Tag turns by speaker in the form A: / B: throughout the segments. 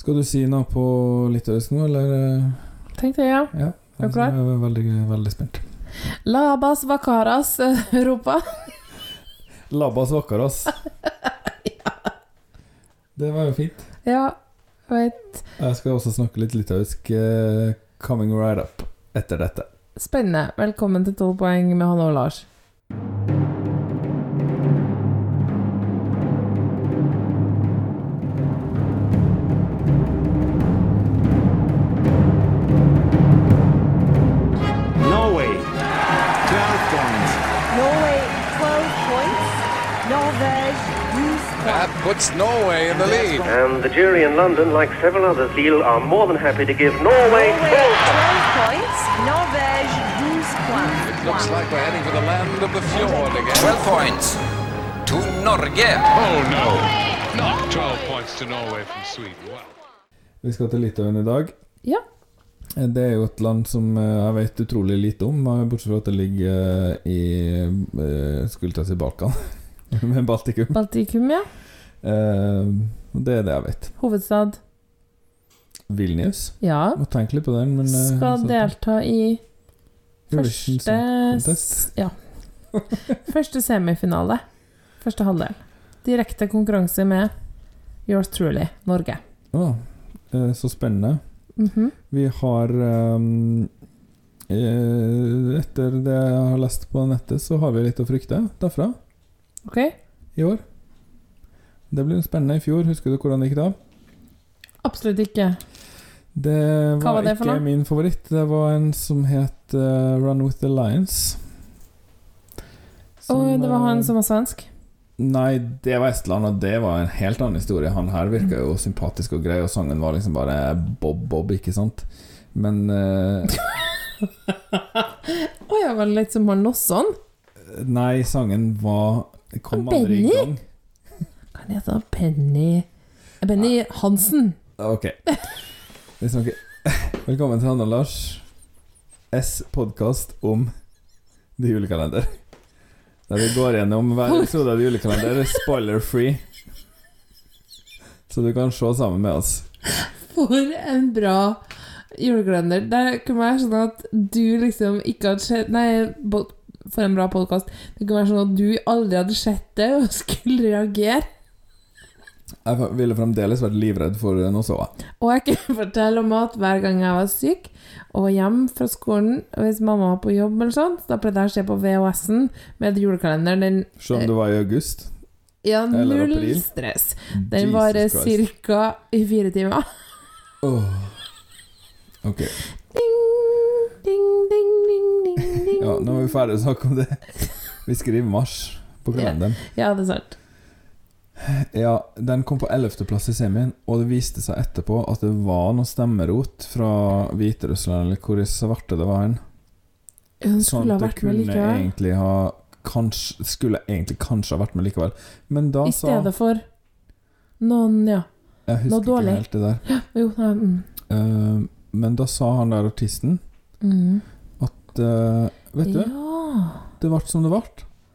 A: Skal du si noe på litauisk nå, eller?
B: Tenkte jeg, ja.
A: Ja.
B: Er du klar?
A: Jeg er veldig, veldig spent.
B: Labas vakaras, Europa.
A: Labas vakaras. Det var jo fint.
B: Ja, veit.
A: Jeg skal også snakke litt litauisk eh, coming right up etter dette.
B: Spennende. Velkommen til 12 poeng med Hanne og Lars.
C: Norway, 12 points.
D: Norway 12 points, Norvège 12 points.
E: That puts Norway in the lead.
F: And the jury in London, like several others, Lille are more than happy to give Norway
D: Norway
F: 12
D: 12 points, Norvège 12 points.
E: It looks like we're heading for the land of the fjord again.
G: 12 points to Norge.
H: Oh no! Not 12 points to Norway from Sweden. Wow.
A: Vi skal til Litauen i dag. Eh,
B: Ja.
A: Det er jo et land som eh, jeg vet utrolig lite om, eh, bortsett fra at det ligger eh, i eh, Skulle til å si Balkan, men Baltikum.
B: Baltikum, ja.
A: Eh, Det er det jeg vet.
B: Hovedstad.
A: Vilnius.
B: Ja.
A: Må tenke litt på den, men eh,
B: Skal
A: så-
B: delta i
A: Eurovision
B: første
A: Song Contest.
B: Ja. Første semifinale. Første halvdel. Direkte konkurranse med Yours Truly, Norge.
A: Å, eh, Så spennende.
B: Mhm.
A: Vi har ehm, eh, Etter det jeg har lest på nettet, så har vi litt å frykte derfra
B: Ok?
A: i år. Det blir spennende i fjor. Husker du hvordan det gikk da?
B: Absolutt ikke.
A: Det
B: Hva
A: var,
B: var det for
A: ikke
B: noe?
A: min favoritt. Det var en som het eh, Run With The Lions.
B: Og det var han
A: eh,
B: som var svensk.
A: Nei, det var Estland, og det var en helt annen historie. Han her virka
B: Mm.
A: jo sympatisk og grei, og sangen var liksom bare Bob-Bob, ikke sant? Men eh,
B: Å ja, var det litt som han Nosson?
A: Nei, sangen var Kom
B: Og
A: aldri i
B: Benny?
A: gang.
B: Kan jeg hete Penny Benny Hansen.
A: Ok. Vi snakker Velkommen til Hanne og Lars. S podkast om The Julekalender. Der vi går gjennom hver episode av The Julekalender spoiler-free. Så du kan se sammen med oss.
B: For en bra julekalender. Der kunne være sånn at du liksom ikke hadde sett Nei, bo- for en bra podkast. Det kunne være sånn at du aldri hadde sett det og skulle reagere.
A: Jeg ville fremdeles vært livredd for noe så.
B: Og jeg kunne fortelle om at hver gang jeg var syk og var hjemme fra skolen, og hvis mamma var på jobb eller sånn, så da pleide jeg å se på VHS-en med julekalenderen. Den
A: Selv om det var i august.
B: ja,
A: Eller
B: null
A: april.
B: stress. Den eh,
A: Jesus
B: varer
A: Christ.
B: ca. i fire timer.
A: Åh. Ok.
B: Ding, ding, ding, ding, ding, ding.
A: Ja, nå er vi ferdig å snakke om det. Vi skriver mars på kalenderen.
B: ja, det er sant.
A: Ja, den kom på 11. plass i semien, og det viste seg etterpå at det var noe stemmerot fra Hviterussland, eller hvor i svarte det var hen.
B: Hun
A: Sånn
B: skulle
A: at
B: ha
A: det
B: vært med
A: kunne
B: likevel.
A: egentlig ha kanskje, Skulle egentlig kanskje ha vært med likevel. Men da
B: I
A: sa
B: stedet for noen, ja.
A: Jeg husker
B: noe dårlig.
A: ikke helt det der.
B: Jo, nei, mm.
A: Eh, men da sa han der artisten
B: Mm.
A: at eh, Vet du,
B: Ja.
A: det ble som det ble.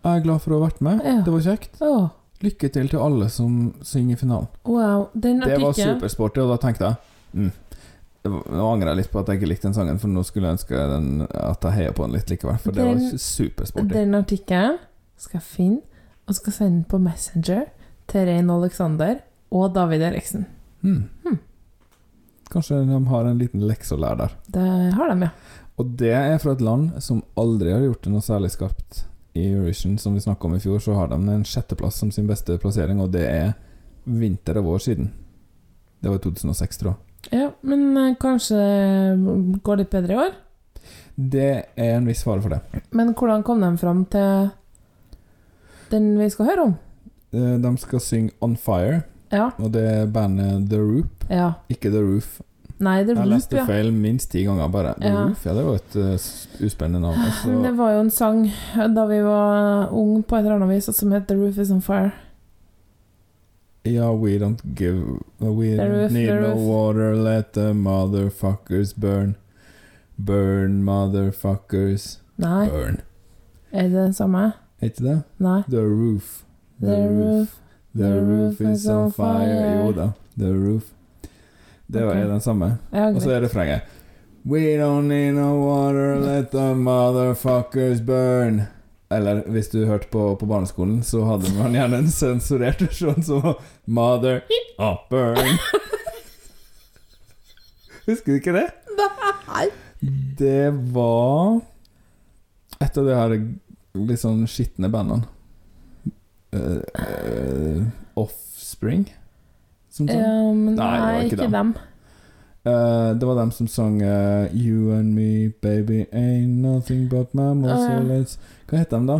A: Jeg er glad for å ha vært med.
B: Ja.
A: Det var kjekt.
B: Å,
A: Lykke til til alle som synger i finalen.
B: wow. Den
A: Det var
B: artikkelen
A: supersporty, og da tenkte jeg mm. det var- Nå angrer jeg litt på at jeg ikke likte den sangen, for nå skulle jeg ønske den, at jeg heia på den litt likevel. For det var
B: Den-
A: supersporty.
B: Den artikkelen skal jeg finne og skal sende den på Messenger til Rein Alexander og David Eriksen.
A: Mm.
B: Hmm.
A: Kanskje de har en liten lekse å lære der.
B: Det har de, ja.
A: Og det er fra et land som aldri har gjort det noe særlig skarpt i Eurovision. Som vi snakka om i fjor, så har de en sjetteplass som sin beste plassering, og det er vinter og vår siden. Det var i 2006, tror jeg.
B: ja. Men eh, kanskje det går litt bedre i år?
A: Det er en viss fare for det.
B: Men hvordan kom de fram til den vi skal høre om?
A: Eh, De skal synge On Fire,
B: Ja.
A: og det er bandet The Roop.
B: ja.
A: Ikke The Roof.
B: Nei, det
A: Jeg
B: er Loop,
A: leste
B: ja.
A: feil minst ti ganger, bare. The
B: Ja.
A: Roof, ja, det var et eh, s- uspennende navn.
B: Men Det
A: Altså,
B: var jo en sang da vi var unge på et eller annet vis altså, som het The Roof Is On Fire.
A: ja, we don't give We
B: The Roof,
A: need
B: The
A: no
B: Roof.
A: water, let the motherfuckers burn. Burn, motherfuckers,
B: Nei,
A: burn.
B: er det det samme?
A: Er ikke det?
B: Nei.
A: The Roof.
B: The Roof
A: The roof is on fire. Jo da, the roof. Det
B: Ok.
A: er den samme.
B: Ja,
A: Og så
B: greit.
A: er refrenget We don't need no water, let the motherfuckers burn. Eller hvis du hørte på på barneskolen, så hadde man gjerne en sensurert versjon som var Mother oh, burn. Husker du ikke det?
B: Nei.
A: Det var et av de her litt sånn skitne bandene. Eh, eh, offspring, som sånn.
B: Ja, men
A: Nei,
B: nei,
A: det var ikke
B: ikke,
A: dem.
B: dem.
A: Eh, det var dem som sang eh, You and me, baby, ain't nothing but mammals
B: Å, ja.
A: so let's Hva heter de da?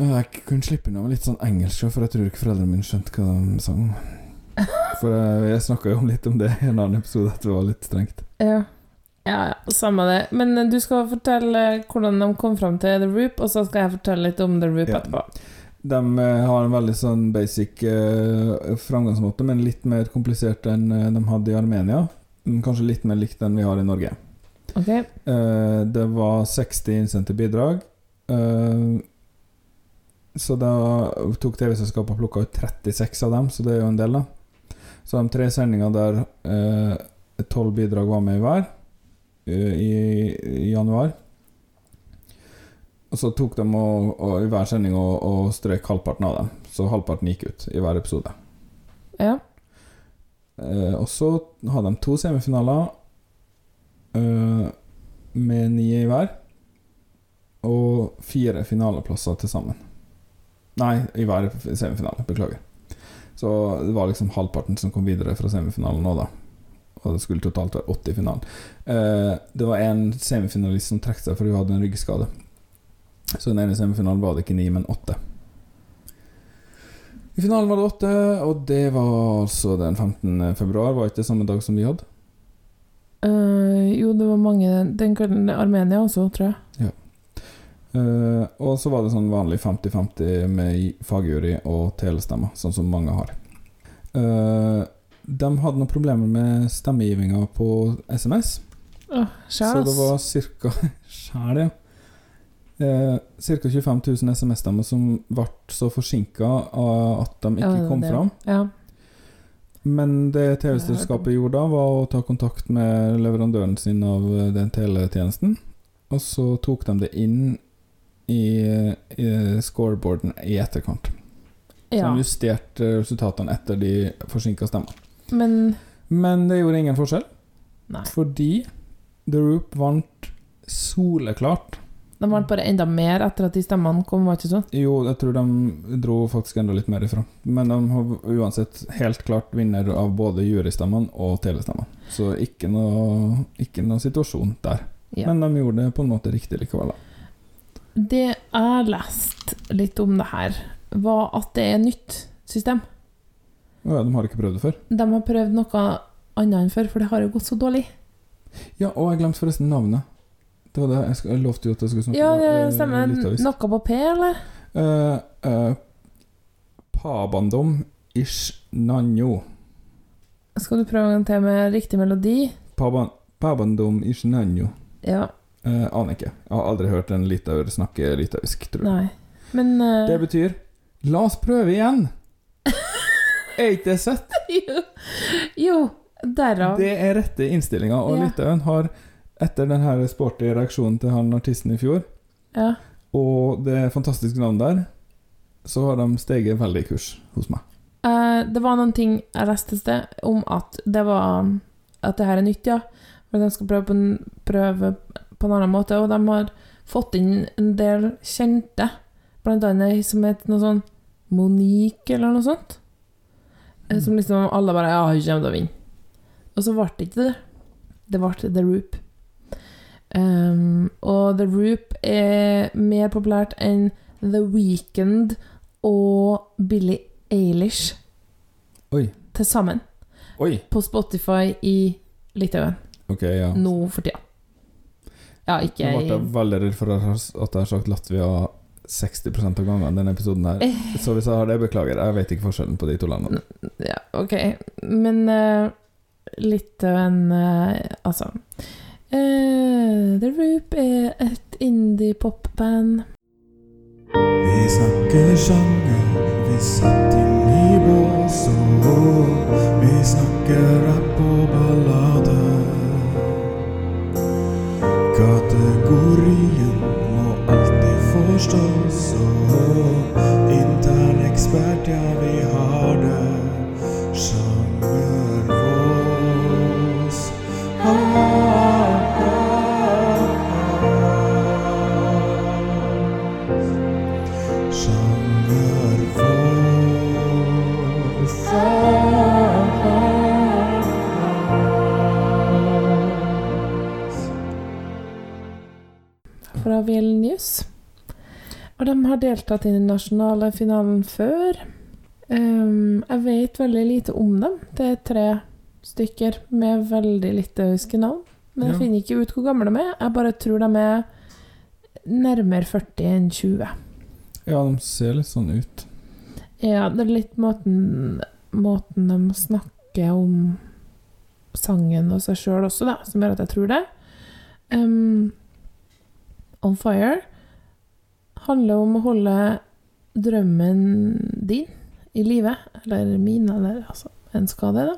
A: Eh, jeg kunne slippe unna med litt sånn engelsk, for jeg tror ikke foreldrene mine skjønte hva de sang om. For eh, jeg snakka jo om litt om det i en annen episode, at det var litt strengt.
B: Ja. ja, ja, samme det. Men eh, du skal fortelle hvordan de kom fram til The Roop, og så skal jeg fortelle litt om The Roop
A: Ja.
B: etterpå.
A: De eh, har en veldig sånn basic eh, framgangsmåte, men litt mer komplisert enn eh, de hadde i Armenia. Mm, Kanskje litt mer likt enn vi har i Norge.
B: Ok?
A: Eh, det var 60 innsendte bidrag. Eh, så da tok TV-selskapet og plukka ut 36 av dem, så det er jo en del, da. Så de tre sendingene der eh, 12 bidrag var med i hver eh, i, i januar. Og så tok de og, og, i hver sending og, og strøk halvparten av dem. Så halvparten gikk ut i hver episode.
B: Ja.
A: Eh, og så har de to semifinaler eh, med ni i hver. Og fire finaleplasser til sammen. Nei, i hver semifinale. Beklager. Så det var liksom halvparten som kom videre fra semifinalen nå, da. Og det skulle totalt være 80 i finalen. Eh, det var en semifinalist som trakk seg fordi hun hadde en ryggskade. Så i den ene semifinalen var det ikke ni, men åtte. I finalen var det åtte, og det var altså den 15. februar. Var ikke det samme dag som vi hadde?
B: Eh, jo, det var mange Den kvelden Armenia også, tror jeg.
A: Eh, og så var det sånn vanlig 50-50 med fagjury og telestemmer, sånn som mange har. Eh, de hadde noen problemer med stemmegivinga på SMS,
B: Åh,
A: så
B: Sjæl,
A: det
B: ass.
A: var ca. Sjæl, ja. Uh, ca. 25 000 SMS-stemmer som ble så forsinka at de
B: Ja,
A: ikke
B: det var
A: kom
B: det.
A: fram.
B: Ja.
A: Men det TV-selskapet gjorde da, var å ta kontakt med leverandøren sin av eh, den teletjenesten. Og så tok de det inn i, eh, i scoreboarden i etterkant. Så
B: ja.
A: de justerte resultatene etter de forsinka stemmene.
B: Men
A: Men det gjorde ingen forskjell,
B: Nei.
A: fordi The Roop vant soleklart.
B: de ble bare enda mer etter at de stemmene kom, var det ikke sånn?
A: Jo, jeg tror de dro faktisk enda litt mer ifra. Men de har uansett helt klart vinner av både jurystemmene og telestemmene. Så ikke noe, ikke noe situasjon der.
B: Ja.
A: Men de gjorde det på en måte riktig likevel. da.
B: Det jeg leste litt om det her, var at det er nytt system.
A: Å ja, de har ikke prøvd det før.
B: De har prøvd noe annet enn før, for det har jo gått så dårlig.
A: Ja, og jeg glemte forresten navnet. Det var det jeg, sk- jeg lovte jo at jeg skulle snakke
B: Ja, det
A: eh,
B: stemmer.
A: Lyttavis.
B: Noe på P, eller?
A: Eh, eh, Pabandom ish nanjo.
B: Skal du prøve en gang til med riktig melodi?
A: Paban, pabandom ish nanjo.
B: Ja.
A: Eh, aner ikke. Jeg har aldri hørt en litauer snakke litauisk, tror jeg.
B: Nei. Men eh,
A: Det betyr La oss prøve igjen! Er ikke det søtt?
B: Jo, jo derav.
A: Det er rette innstillinga, og
B: Ja.
A: Litauen har, etter den her sporty reaksjonen til han artisten i fjor,
B: Ja.
A: og det fantastiske navnet der, så har de steget veldig i kurs hos meg.
B: Eh, det var noen ting jeg leste et sted om at det var At det her er nytt, ja. Men de skal prøve på, en, prøve på en annen måte. Og de har fått inn en del kjente, blant annet ei som het noe sånn Monique eller noe sånt. Eh, Som liksom alle bare Ja, hun kommer til å vinne. Og så ble det ikke det. Det ble The Roop. Ehm, og The Roop er mer populært enn The Weekend og Billie Eilish
A: Oi.
B: til sammen
A: Oi.
B: på Spotify i Litauen
A: Ok, ja. Nå
B: nå for tida. Ja, ikke
A: ble
B: i
A: jeg veldig redd for at jeg har- at jeg har sagt Latvia 60 av gangene i denne episoden her. Så hvis jeg har det, beklager. Jeg vet ikke forskjellen på de to landene.
B: Ja, ok. Men eh, Litauen eh, Altså eh, The Roop er et indie-pop-band.
I: Vi snakker sjanger, vi sitter i bås. Så vi snakker rapp og ballade. Kategorien må alltid forstås. Så intern ekspert, ja, vi har det. Sjangervås. Ah, ah, ah. Sjangervås. Ah,
B: fra Vilnius. Og de har deltatt i den nasjonale finalen før. Ehm, jeg vet veldig lite om dem. Det er tre stykker med veldig litauiske navn. Men jeg
A: Ja.
B: finner ikke ut hvor gamle de er. Jeg bare tror de er nærmere 40 enn 20.
A: Ja, de ser litt sånn ut.
B: Ja, det er litt måten, måten de snakker om sangen og seg sjøl også, da, som gjør at jeg tror det. Um, On Fire handler om å holde drømmen din i live, eller min, eller altså en skade, da.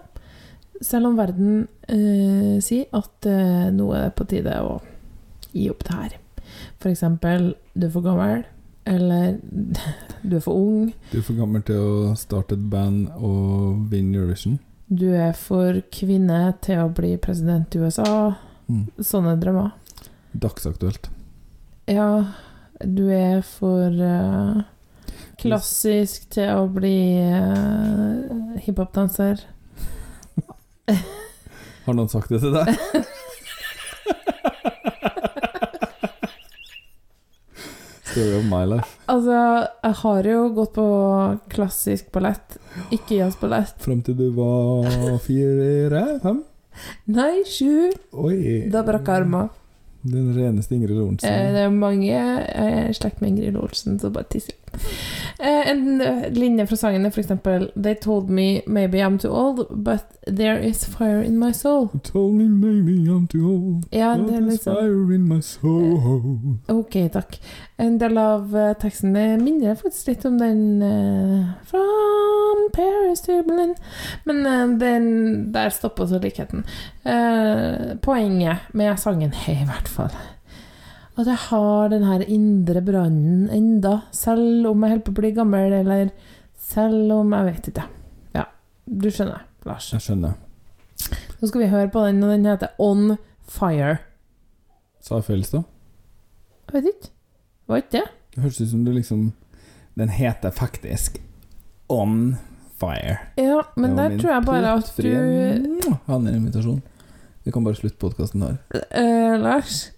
B: Selv om verden eh, sier at eh, nå er det på tide å gi opp det her. For eksempel, du er for gammel, eller du er for ung,
A: Du er for gammel til å starte et band og vinne Eurovision.
B: Du er for kvinne til å bli president i USA.
A: Mm.
B: Sånne drømmer.
A: Dagsaktuelt.
B: Ja, du er for eh, klassisk til å bli uh, hiphopdanser.
A: Har noen sagt det til deg? Story of my life.
B: Altså, jeg har jo gått på klassisk ballett, ikke jazzballett.
A: Fram til du var fire, fem?
B: Nei, sju!
A: Oi.
B: Da brakk jeg armen.
A: Den reneste Ingrid
B: Eh,
A: Lorentzen.
B: det er mange eh, Jeg er i slekt med Ingrid Olsen, så bare tisser. Eh, en eh, linje fra sangen er for eksempel They told me maybe I'm too old, but there is fire in my soul.
A: You told me maybe I'm too old.
B: Ja,
A: but
B: det er
A: there's
B: litt sånn
A: fire in my soul.
B: Ok, takk. En del av eh, teksten eh, minner faktisk litt om den eh, From Paris to Berlin. Men eh, den, der stopper også likheten. Eh, poenget med sangen er i hvert fall at jeg har den her indre brannen enda, selv om jeg holder på å bli gammel, eller selv om jeg vet ikke. Ja, du skjønner, Lars.
A: Jeg skjønner.
B: Nå skal vi høre på den, og den heter On Fire.
A: Sa jeg feil i stad?
B: Jeg vet ikke. Var ikke det?
A: Det høres ut som du liksom Den heter faktisk On Fire.
B: Ja,
A: Det
B: men
A: var
B: der
A: min
B: tror jeg bare at du
A: plettfrie- Mwah! Han er en invitasjon. Vi kan bare slutte podkasten der.
B: eh, Lars,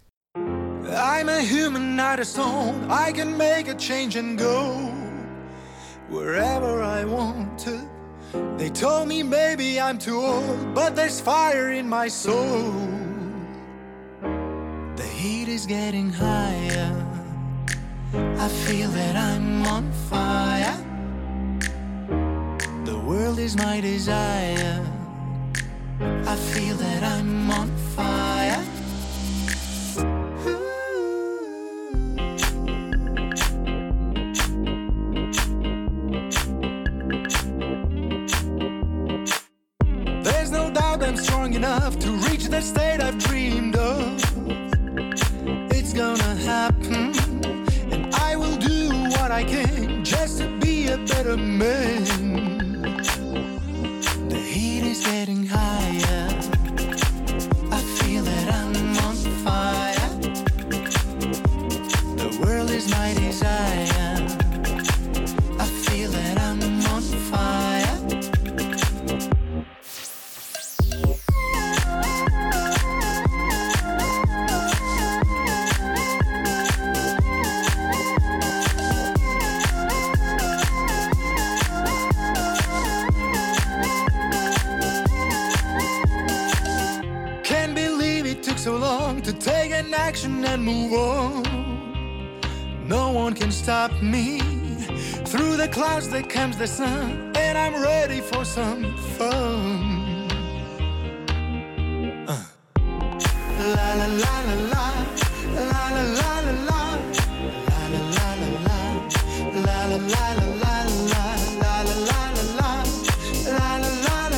I: I'm a human, not a stone. I can make a change and go wherever I want to. They told me maybe I'm too old, but there's fire in my soul. The heat is getting higher. I feel that I'm on fire. The world is my desire. I feel that I'm on fire. There's no doubt I'm strong enough to reach the state I've dreamed of. It's gonna happen, and I will do what I can just to be a better man. The heat is getting higher. I feel that I'm on fire. The world is my desire. I feel that I'm on fire. Can't believe it took so long to take an action and move on. No one can stop me. Through the clouds there comes the sun, and I'm ready for some fun. Uh. La la la la la, la la la la la, la la la la la, la la la la la, la la la la la, la la la la la,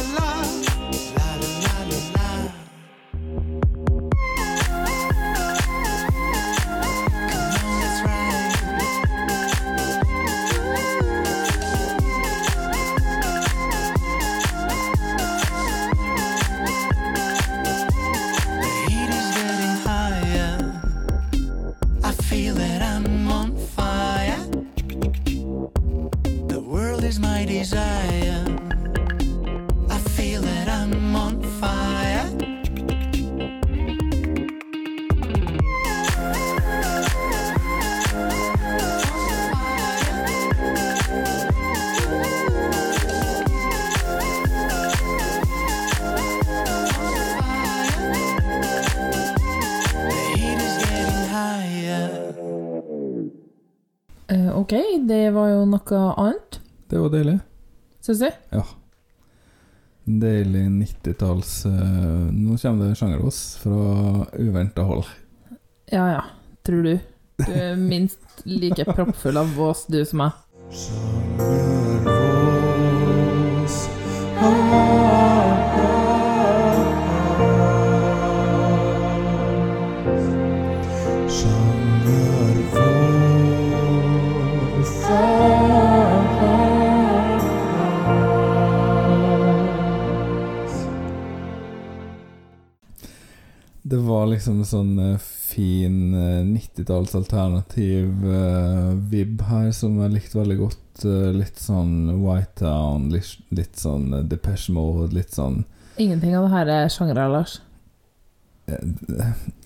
B: Eh, ok, det var jo noe annet,
A: Det var deilig.
B: syns du?
A: Deilig 90-talls eh, Nå kommer det sjangeros fra uventa hold.
B: Ja ja, tror du. Du er minst like proppfull av vås, du, som meg.
A: Det var liksom sånn eh, fin eh, 90-talls alternativ eh, vib her som jeg likte veldig godt. Eh, litt sånn White Town, litt, litt sånn eh, Depeche Mode, litt sånn
B: Ingenting av det her er sjangre, Lars.
A: eh,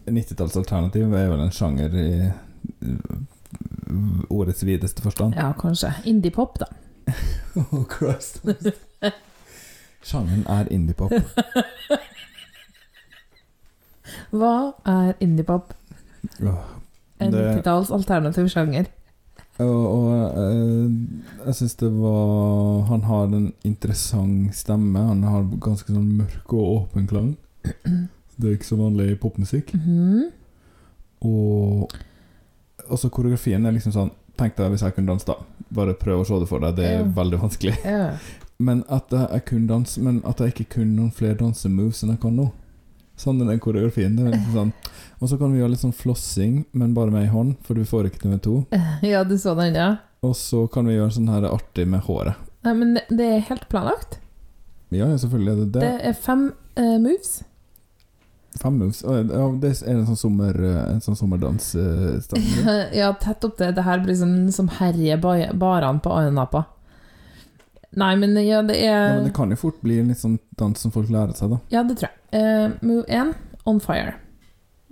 A: 90-talls alternativ er vel en sjanger i eh, ordets videste forstand.
B: Ja, kanskje. Indiepop, da.
A: Oh, Christ. Sjangeren er indiepop.
B: Hva er indiepop?
A: Åh,
B: En
A: det-
B: titalls alternativ sjanger.
A: Og, og eh, jeg syns det var Han har en interessant stemme. Han har ganske sånn mørk og åpen klang. Det er ikke så vanlig i popmusikk.
B: Mhm.
A: Og også koreografien er liksom sånn Tenk deg hvis jeg kunne danse, da. Bare prøv å se det for deg. Det er
B: Ja.
A: veldig vanskelig.
B: Ja.
A: Men at jeg, jeg kunne danse Men at jeg ikke kunne noen flere dansemoves enn jeg kan nå. Sånn den der koreografien. Det er liksom sånn. Og så kan vi gjøre litt sånn flossing, men bare med ei hånd, for du får ikke til med to.
B: ja, du så den, ja?
A: Og så kan vi gjøre sånn her artig med håret.
B: Nei, men det- det er helt planlagt.
A: Ja, ja, selvfølgelig er det det.
B: Det er fem eh, moves.
A: Fem moves. Å, Ja, det er en sånn, sommer, en sånn sommerdans eh, stand.
B: ja, tett opp det. Det her blir sånn som herjer ba- barene på Ayanapa. Nei, men ja, det er
A: Ja, men det kan jo fort bli en litt sånn dans som folk lærer seg, da.
B: Ja, det tror jeg. Eh, move 1, on fire.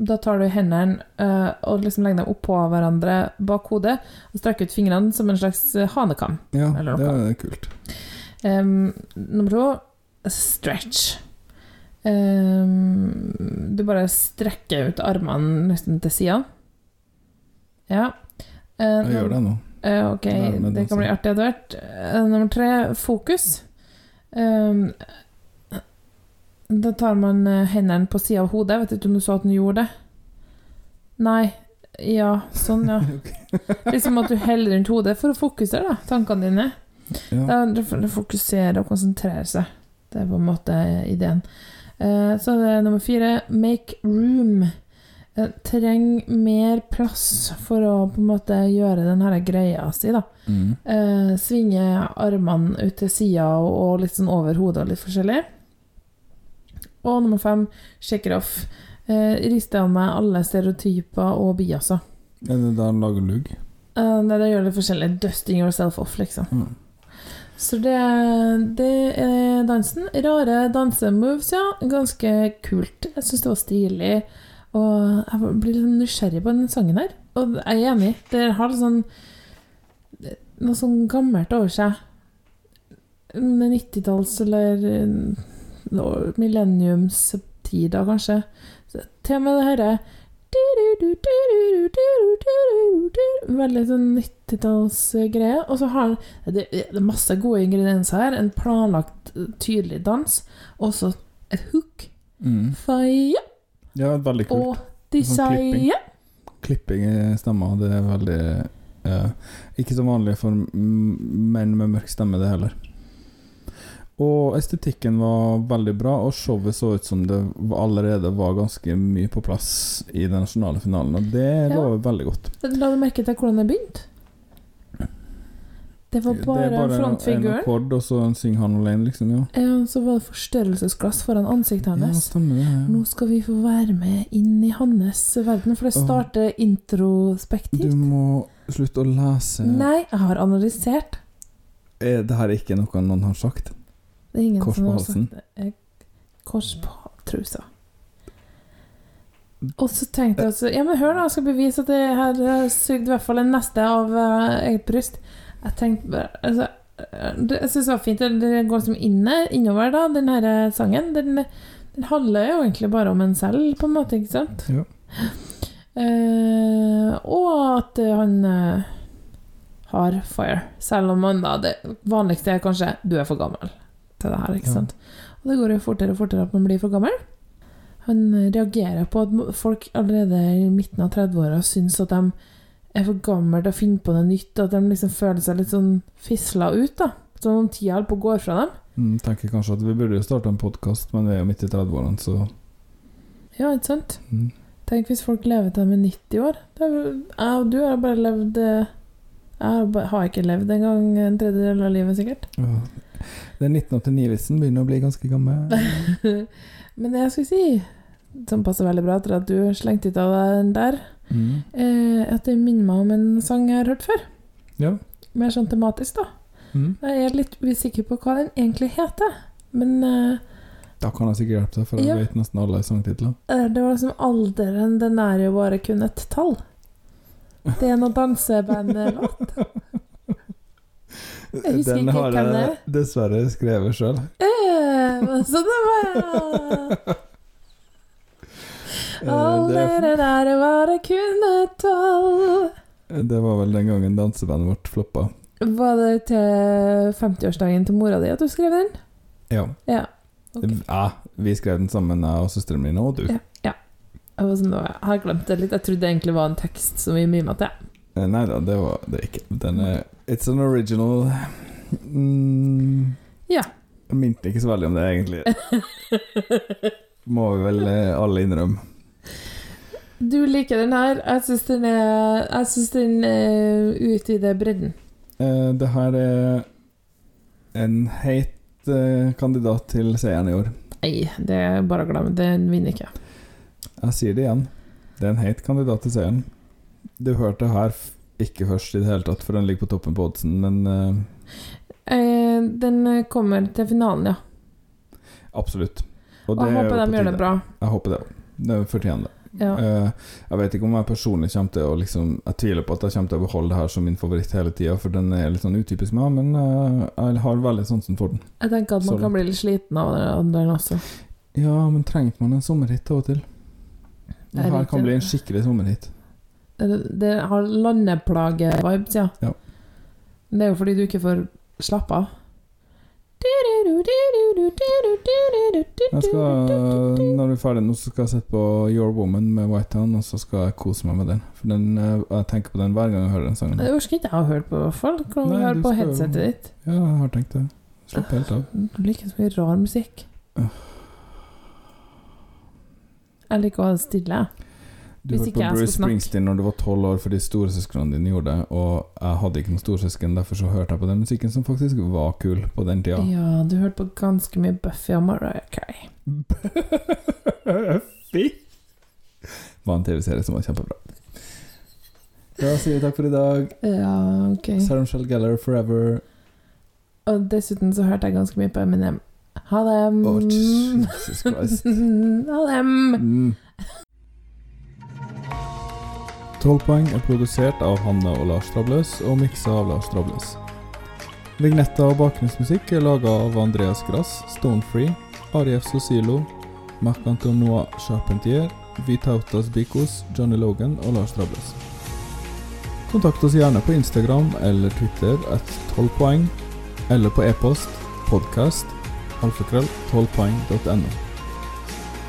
B: Da tar du hendene eh, og liksom legger dem oppå hverandre bak hodet og strekker ut fingrene som en slags eh, hanekam.
A: Ja,
B: Eller
A: det
B: noe.
A: er kult.
B: Em, nummer to, stretch. Em, du bare strekker ut armene nesten til sida. Ja. Eh,
A: Jeg gjør det nå.
B: Eh, ok,
A: Lære meg
B: det
A: danse.
B: kan bli artig etter hvert. Eh, nummer tre, fokus. Um, da tar man eh, hendene på sida av hodet. Vet ikke om du så at den gjorde det? Nei. Ja, sånn, ja. liksom at du heller rundt hodet for å fokusere da, tankene dine.
A: Ja.
B: Da det er å fokusere og konsentrere seg. Det er på en måte ideen. Eh, Så det er nummer fire make room. Eh, Treng mer plass for å på en måte gjøre den her greia si, da.
A: Mm.
B: Eh, svinge armene ut til sida og, og litt sånn over hodet og litt forskjellig. Og nummer fem shake it off. Eh, riste av meg alle stereotyper og biaser.
A: Er det der han lager lugg?
B: Eh, nei, det gjør litt forskjellig. Dusting yourself off, liksom.
A: Mm.
B: Så det, det er dansen. Rare dansemoves, ja. Ganske kult. Jeg syns det var stilig. Og jeg blir litt nysgjerrig på den sangen her. Og jeg er enig. Det har litt sånn noe sånn gammelt over seg. Om det er 90-talls eller eh, millenniumstida, kanskje. Så Til og med det herre Veldig sånn 90-tallsgreie. Og så har han det, det er masse gode ingredienser her. En planlagt, eh, tydelig dans. Og så et hook.
A: Mm.
B: Fire
A: Ja, veldig kult.
B: og desire.
A: Klipping i stemma, det er veldig eh, Ikke så vanlig for m- menn med mørk stemme, det heller. Og estetikken var veldig bra, og showet så ut som det allerede var ganske mye på plass i den nasjonale finalen, og det
B: Ja.
A: lover veldig godt.
B: La du merke til hvordan det begynte? Det var bare,
A: det er bare en, en
B: frontfiguren.
A: akkord, og så synger han alene, liksom. Ja,
B: Ja, så var det forstørrelsesglass foran ansiktet
A: ja
B: hennes.
A: stemmer det.
B: Nå
A: Ja.
B: skal vi få være med inn i hans verden, for det
A: Åh.
B: starter
A: Du
B: introspektivt.
A: må slutte å lese
B: Nei, jeg har analysert.
A: Er det her ikke noe noen har sagt?
B: Det er ingen
A: Kors
B: som
A: på
B: har
A: halsen.
B: sagt det. Jeg- Kors på trusa. Og så tenkte jeg altså Ja, men hør, da. Jeg skal bevise at det her har sugd i hvert fall en neste av eh, eget bryst. Jeg tenkte bare altså, eh, det, Jeg syns det var fint. Det, det går som inne, innover, da, den her eh, sangen. Den, den handler jo egentlig bare om en selv, på en måte, ikke sant?
A: Ja.
B: Eh, og at eh, han eh, har fire. Selv om man da Det vanligste er kanskje du er for gammel til det her, ikke
A: Ja.
B: sant. Og det går jo fortere og fortere at man blir for gammel. Han eh, reagerer på at mo- folk allerede i midten av 30-åra syns at de er for gamle til å finne på noe nytt, at de liksom føler seg litt sånn fisla ut, da. Sånn om tida holder på å gå fra dem.
A: Mm, tenker kanskje at vi burde jo starte en podkast, men vi er jo midt i 30-årene, så
B: Ja, ikke sant?
A: Mm.
B: Tenk hvis folk lever til de er 90 år. Det er, jo- jeg og du har bare levd eh, Jeg har, bare, har ikke levd engang en tredjedel av livet, sikkert.
A: ja. Den 1989-vitsen begynner å bli ganske gammel.
B: Men det jeg skulle si, som passer veldig bra etter at du slengte ut av deg den der,
A: Mm.
B: eh, at det minner meg om en sang jeg har hørt før.
A: Ja.
B: Mer sånn tematisk, da.
A: Mm.
B: Jeg er litt usikker på hva den egentlig heter. Men eh,
A: Da kan jeg sikkert hjelpe deg, for jeg
B: Ja.
A: vet nesten alle sangtitler.
B: det var liksom alderen Den er jo bare kun et tall. Det er noe dansebandlåt. Jeg husker
A: Den
B: ikke
A: har
B: hvem det
A: jeg
B: er.
A: dessverre skrevet sjøl.
B: Eh, så det var
A: Eh,
B: Alderen er jo bare kun et tall.
A: Det var vel den gangen dansebandet vårt floppa.
B: Var det til 50-årsdagen til mora di at du skrev den?
A: Ja.
B: Ja, ok.
A: ja. Vi skrev den sammen, jeg og søsteren min og du.
B: Ja. Jeg, var sånn, jeg har glemt det litt. Jeg trodde det egentlig var en tekst som vi mima til.
A: Eh, Nei da, det var det er ikke. Den er It's an original mm,
B: Ja.
A: Jeg minte ikke så veldig om det, egentlig. Må vi vel eh, alle innrømme.
B: Du liker den her. Jeg syns den er Jeg synes den er ute i det bredden.
A: Eh, det her er en heit eh, kandidat til seieren i år.
B: Nei, det er bare å glemme. Den vinner ikke.
A: Jeg sier det igjen. Det er en heit kandidat til seieren. Du hørte det her f- ikke først i det hele tatt, for den ligger på toppen på oddsen, men eh,
B: Eh, den kommer til finalen, ja.
A: absolutt. Og
B: Og
A: er
B: jeg
A: jo
B: håper
A: på
B: de gjør det
A: tide.
B: bra.
A: Jeg håper det òg. Det fortjener det.
B: Ja.
A: Eh, jeg vet ikke om jeg personlig kommer til å liksom Jeg tviler på at jeg kommer til å beholde det her som min favoritt hele tida, for den er litt sånn utypisk meg, men eh, jeg har veldig sansen for den.
B: Jeg tenker at
A: så
B: man kan bli litt sliten av den den også.
A: Ja, men trengte man en sommerhit av og til?
B: Jeg
A: Det her
B: liker
A: kan bli
B: det.
A: en skikkelig sommerhit.
B: Det, Eh, det har landeplage-vibes, ja.
A: Ja.
B: Men Det er jo fordi du ikke får slappe av. Jeg
A: Jeg skal, når vi er ferdig nå, så skal jeg sette på Your Woman med White Town, og så skal jeg kose meg med den. For den, eh, Jeg tenker på den hver gang jeg hører den sangen.
B: Det orker ikke jeg å høre på, i hvert fall. Kan du
A: Nei,
B: høre
A: du
B: på
A: skal jo-
B: headsetet ditt?
A: Ja, jeg har tenkt det. Slapp helt av.
B: Du liker så mye rar musikk. Jeg liker å ha det stille. jeg.
A: Du
B: Hvis
A: hørte
B: ikke
A: på
B: jeg
A: Bruce
B: skal snakke.
A: Springsteen når du var tolv år fordi storesøsknene dine gjorde det, og jeg hadde ikke noen storesøsken, derfor så hørte jeg på den musikken som faktisk var kul på den tida.
B: Ja, du hørte på ganske mye Buffy og Mariah Carey.
A: Fy! Var en TV-serie som var kjempebra. Da sier vi takk for i dag.
B: Ja, ok.
A: Sarah Michelle Geller forever.
B: Og dessuten så hørte jeg ganske mye på Eminem. Ha det.
A: Oh, Jesus Christ.
B: ha det.
A: Mm. 12 poeng er produsert av Hanne og Lars Trabløs og miksa av Lars Trabløs. Vignetta og bakgrunnsmusikk er laga av Andreas Grass, Stonefree, Arief Sosilo, Marc-Antonois Charpentier, Vitautas Bikos, Johnny Logan og Lars Trabløs. Kontakt oss gjerne på Instagram eller Twitter at 12 poeng, eller på e-post podcast alfakrøll 12poeng.no.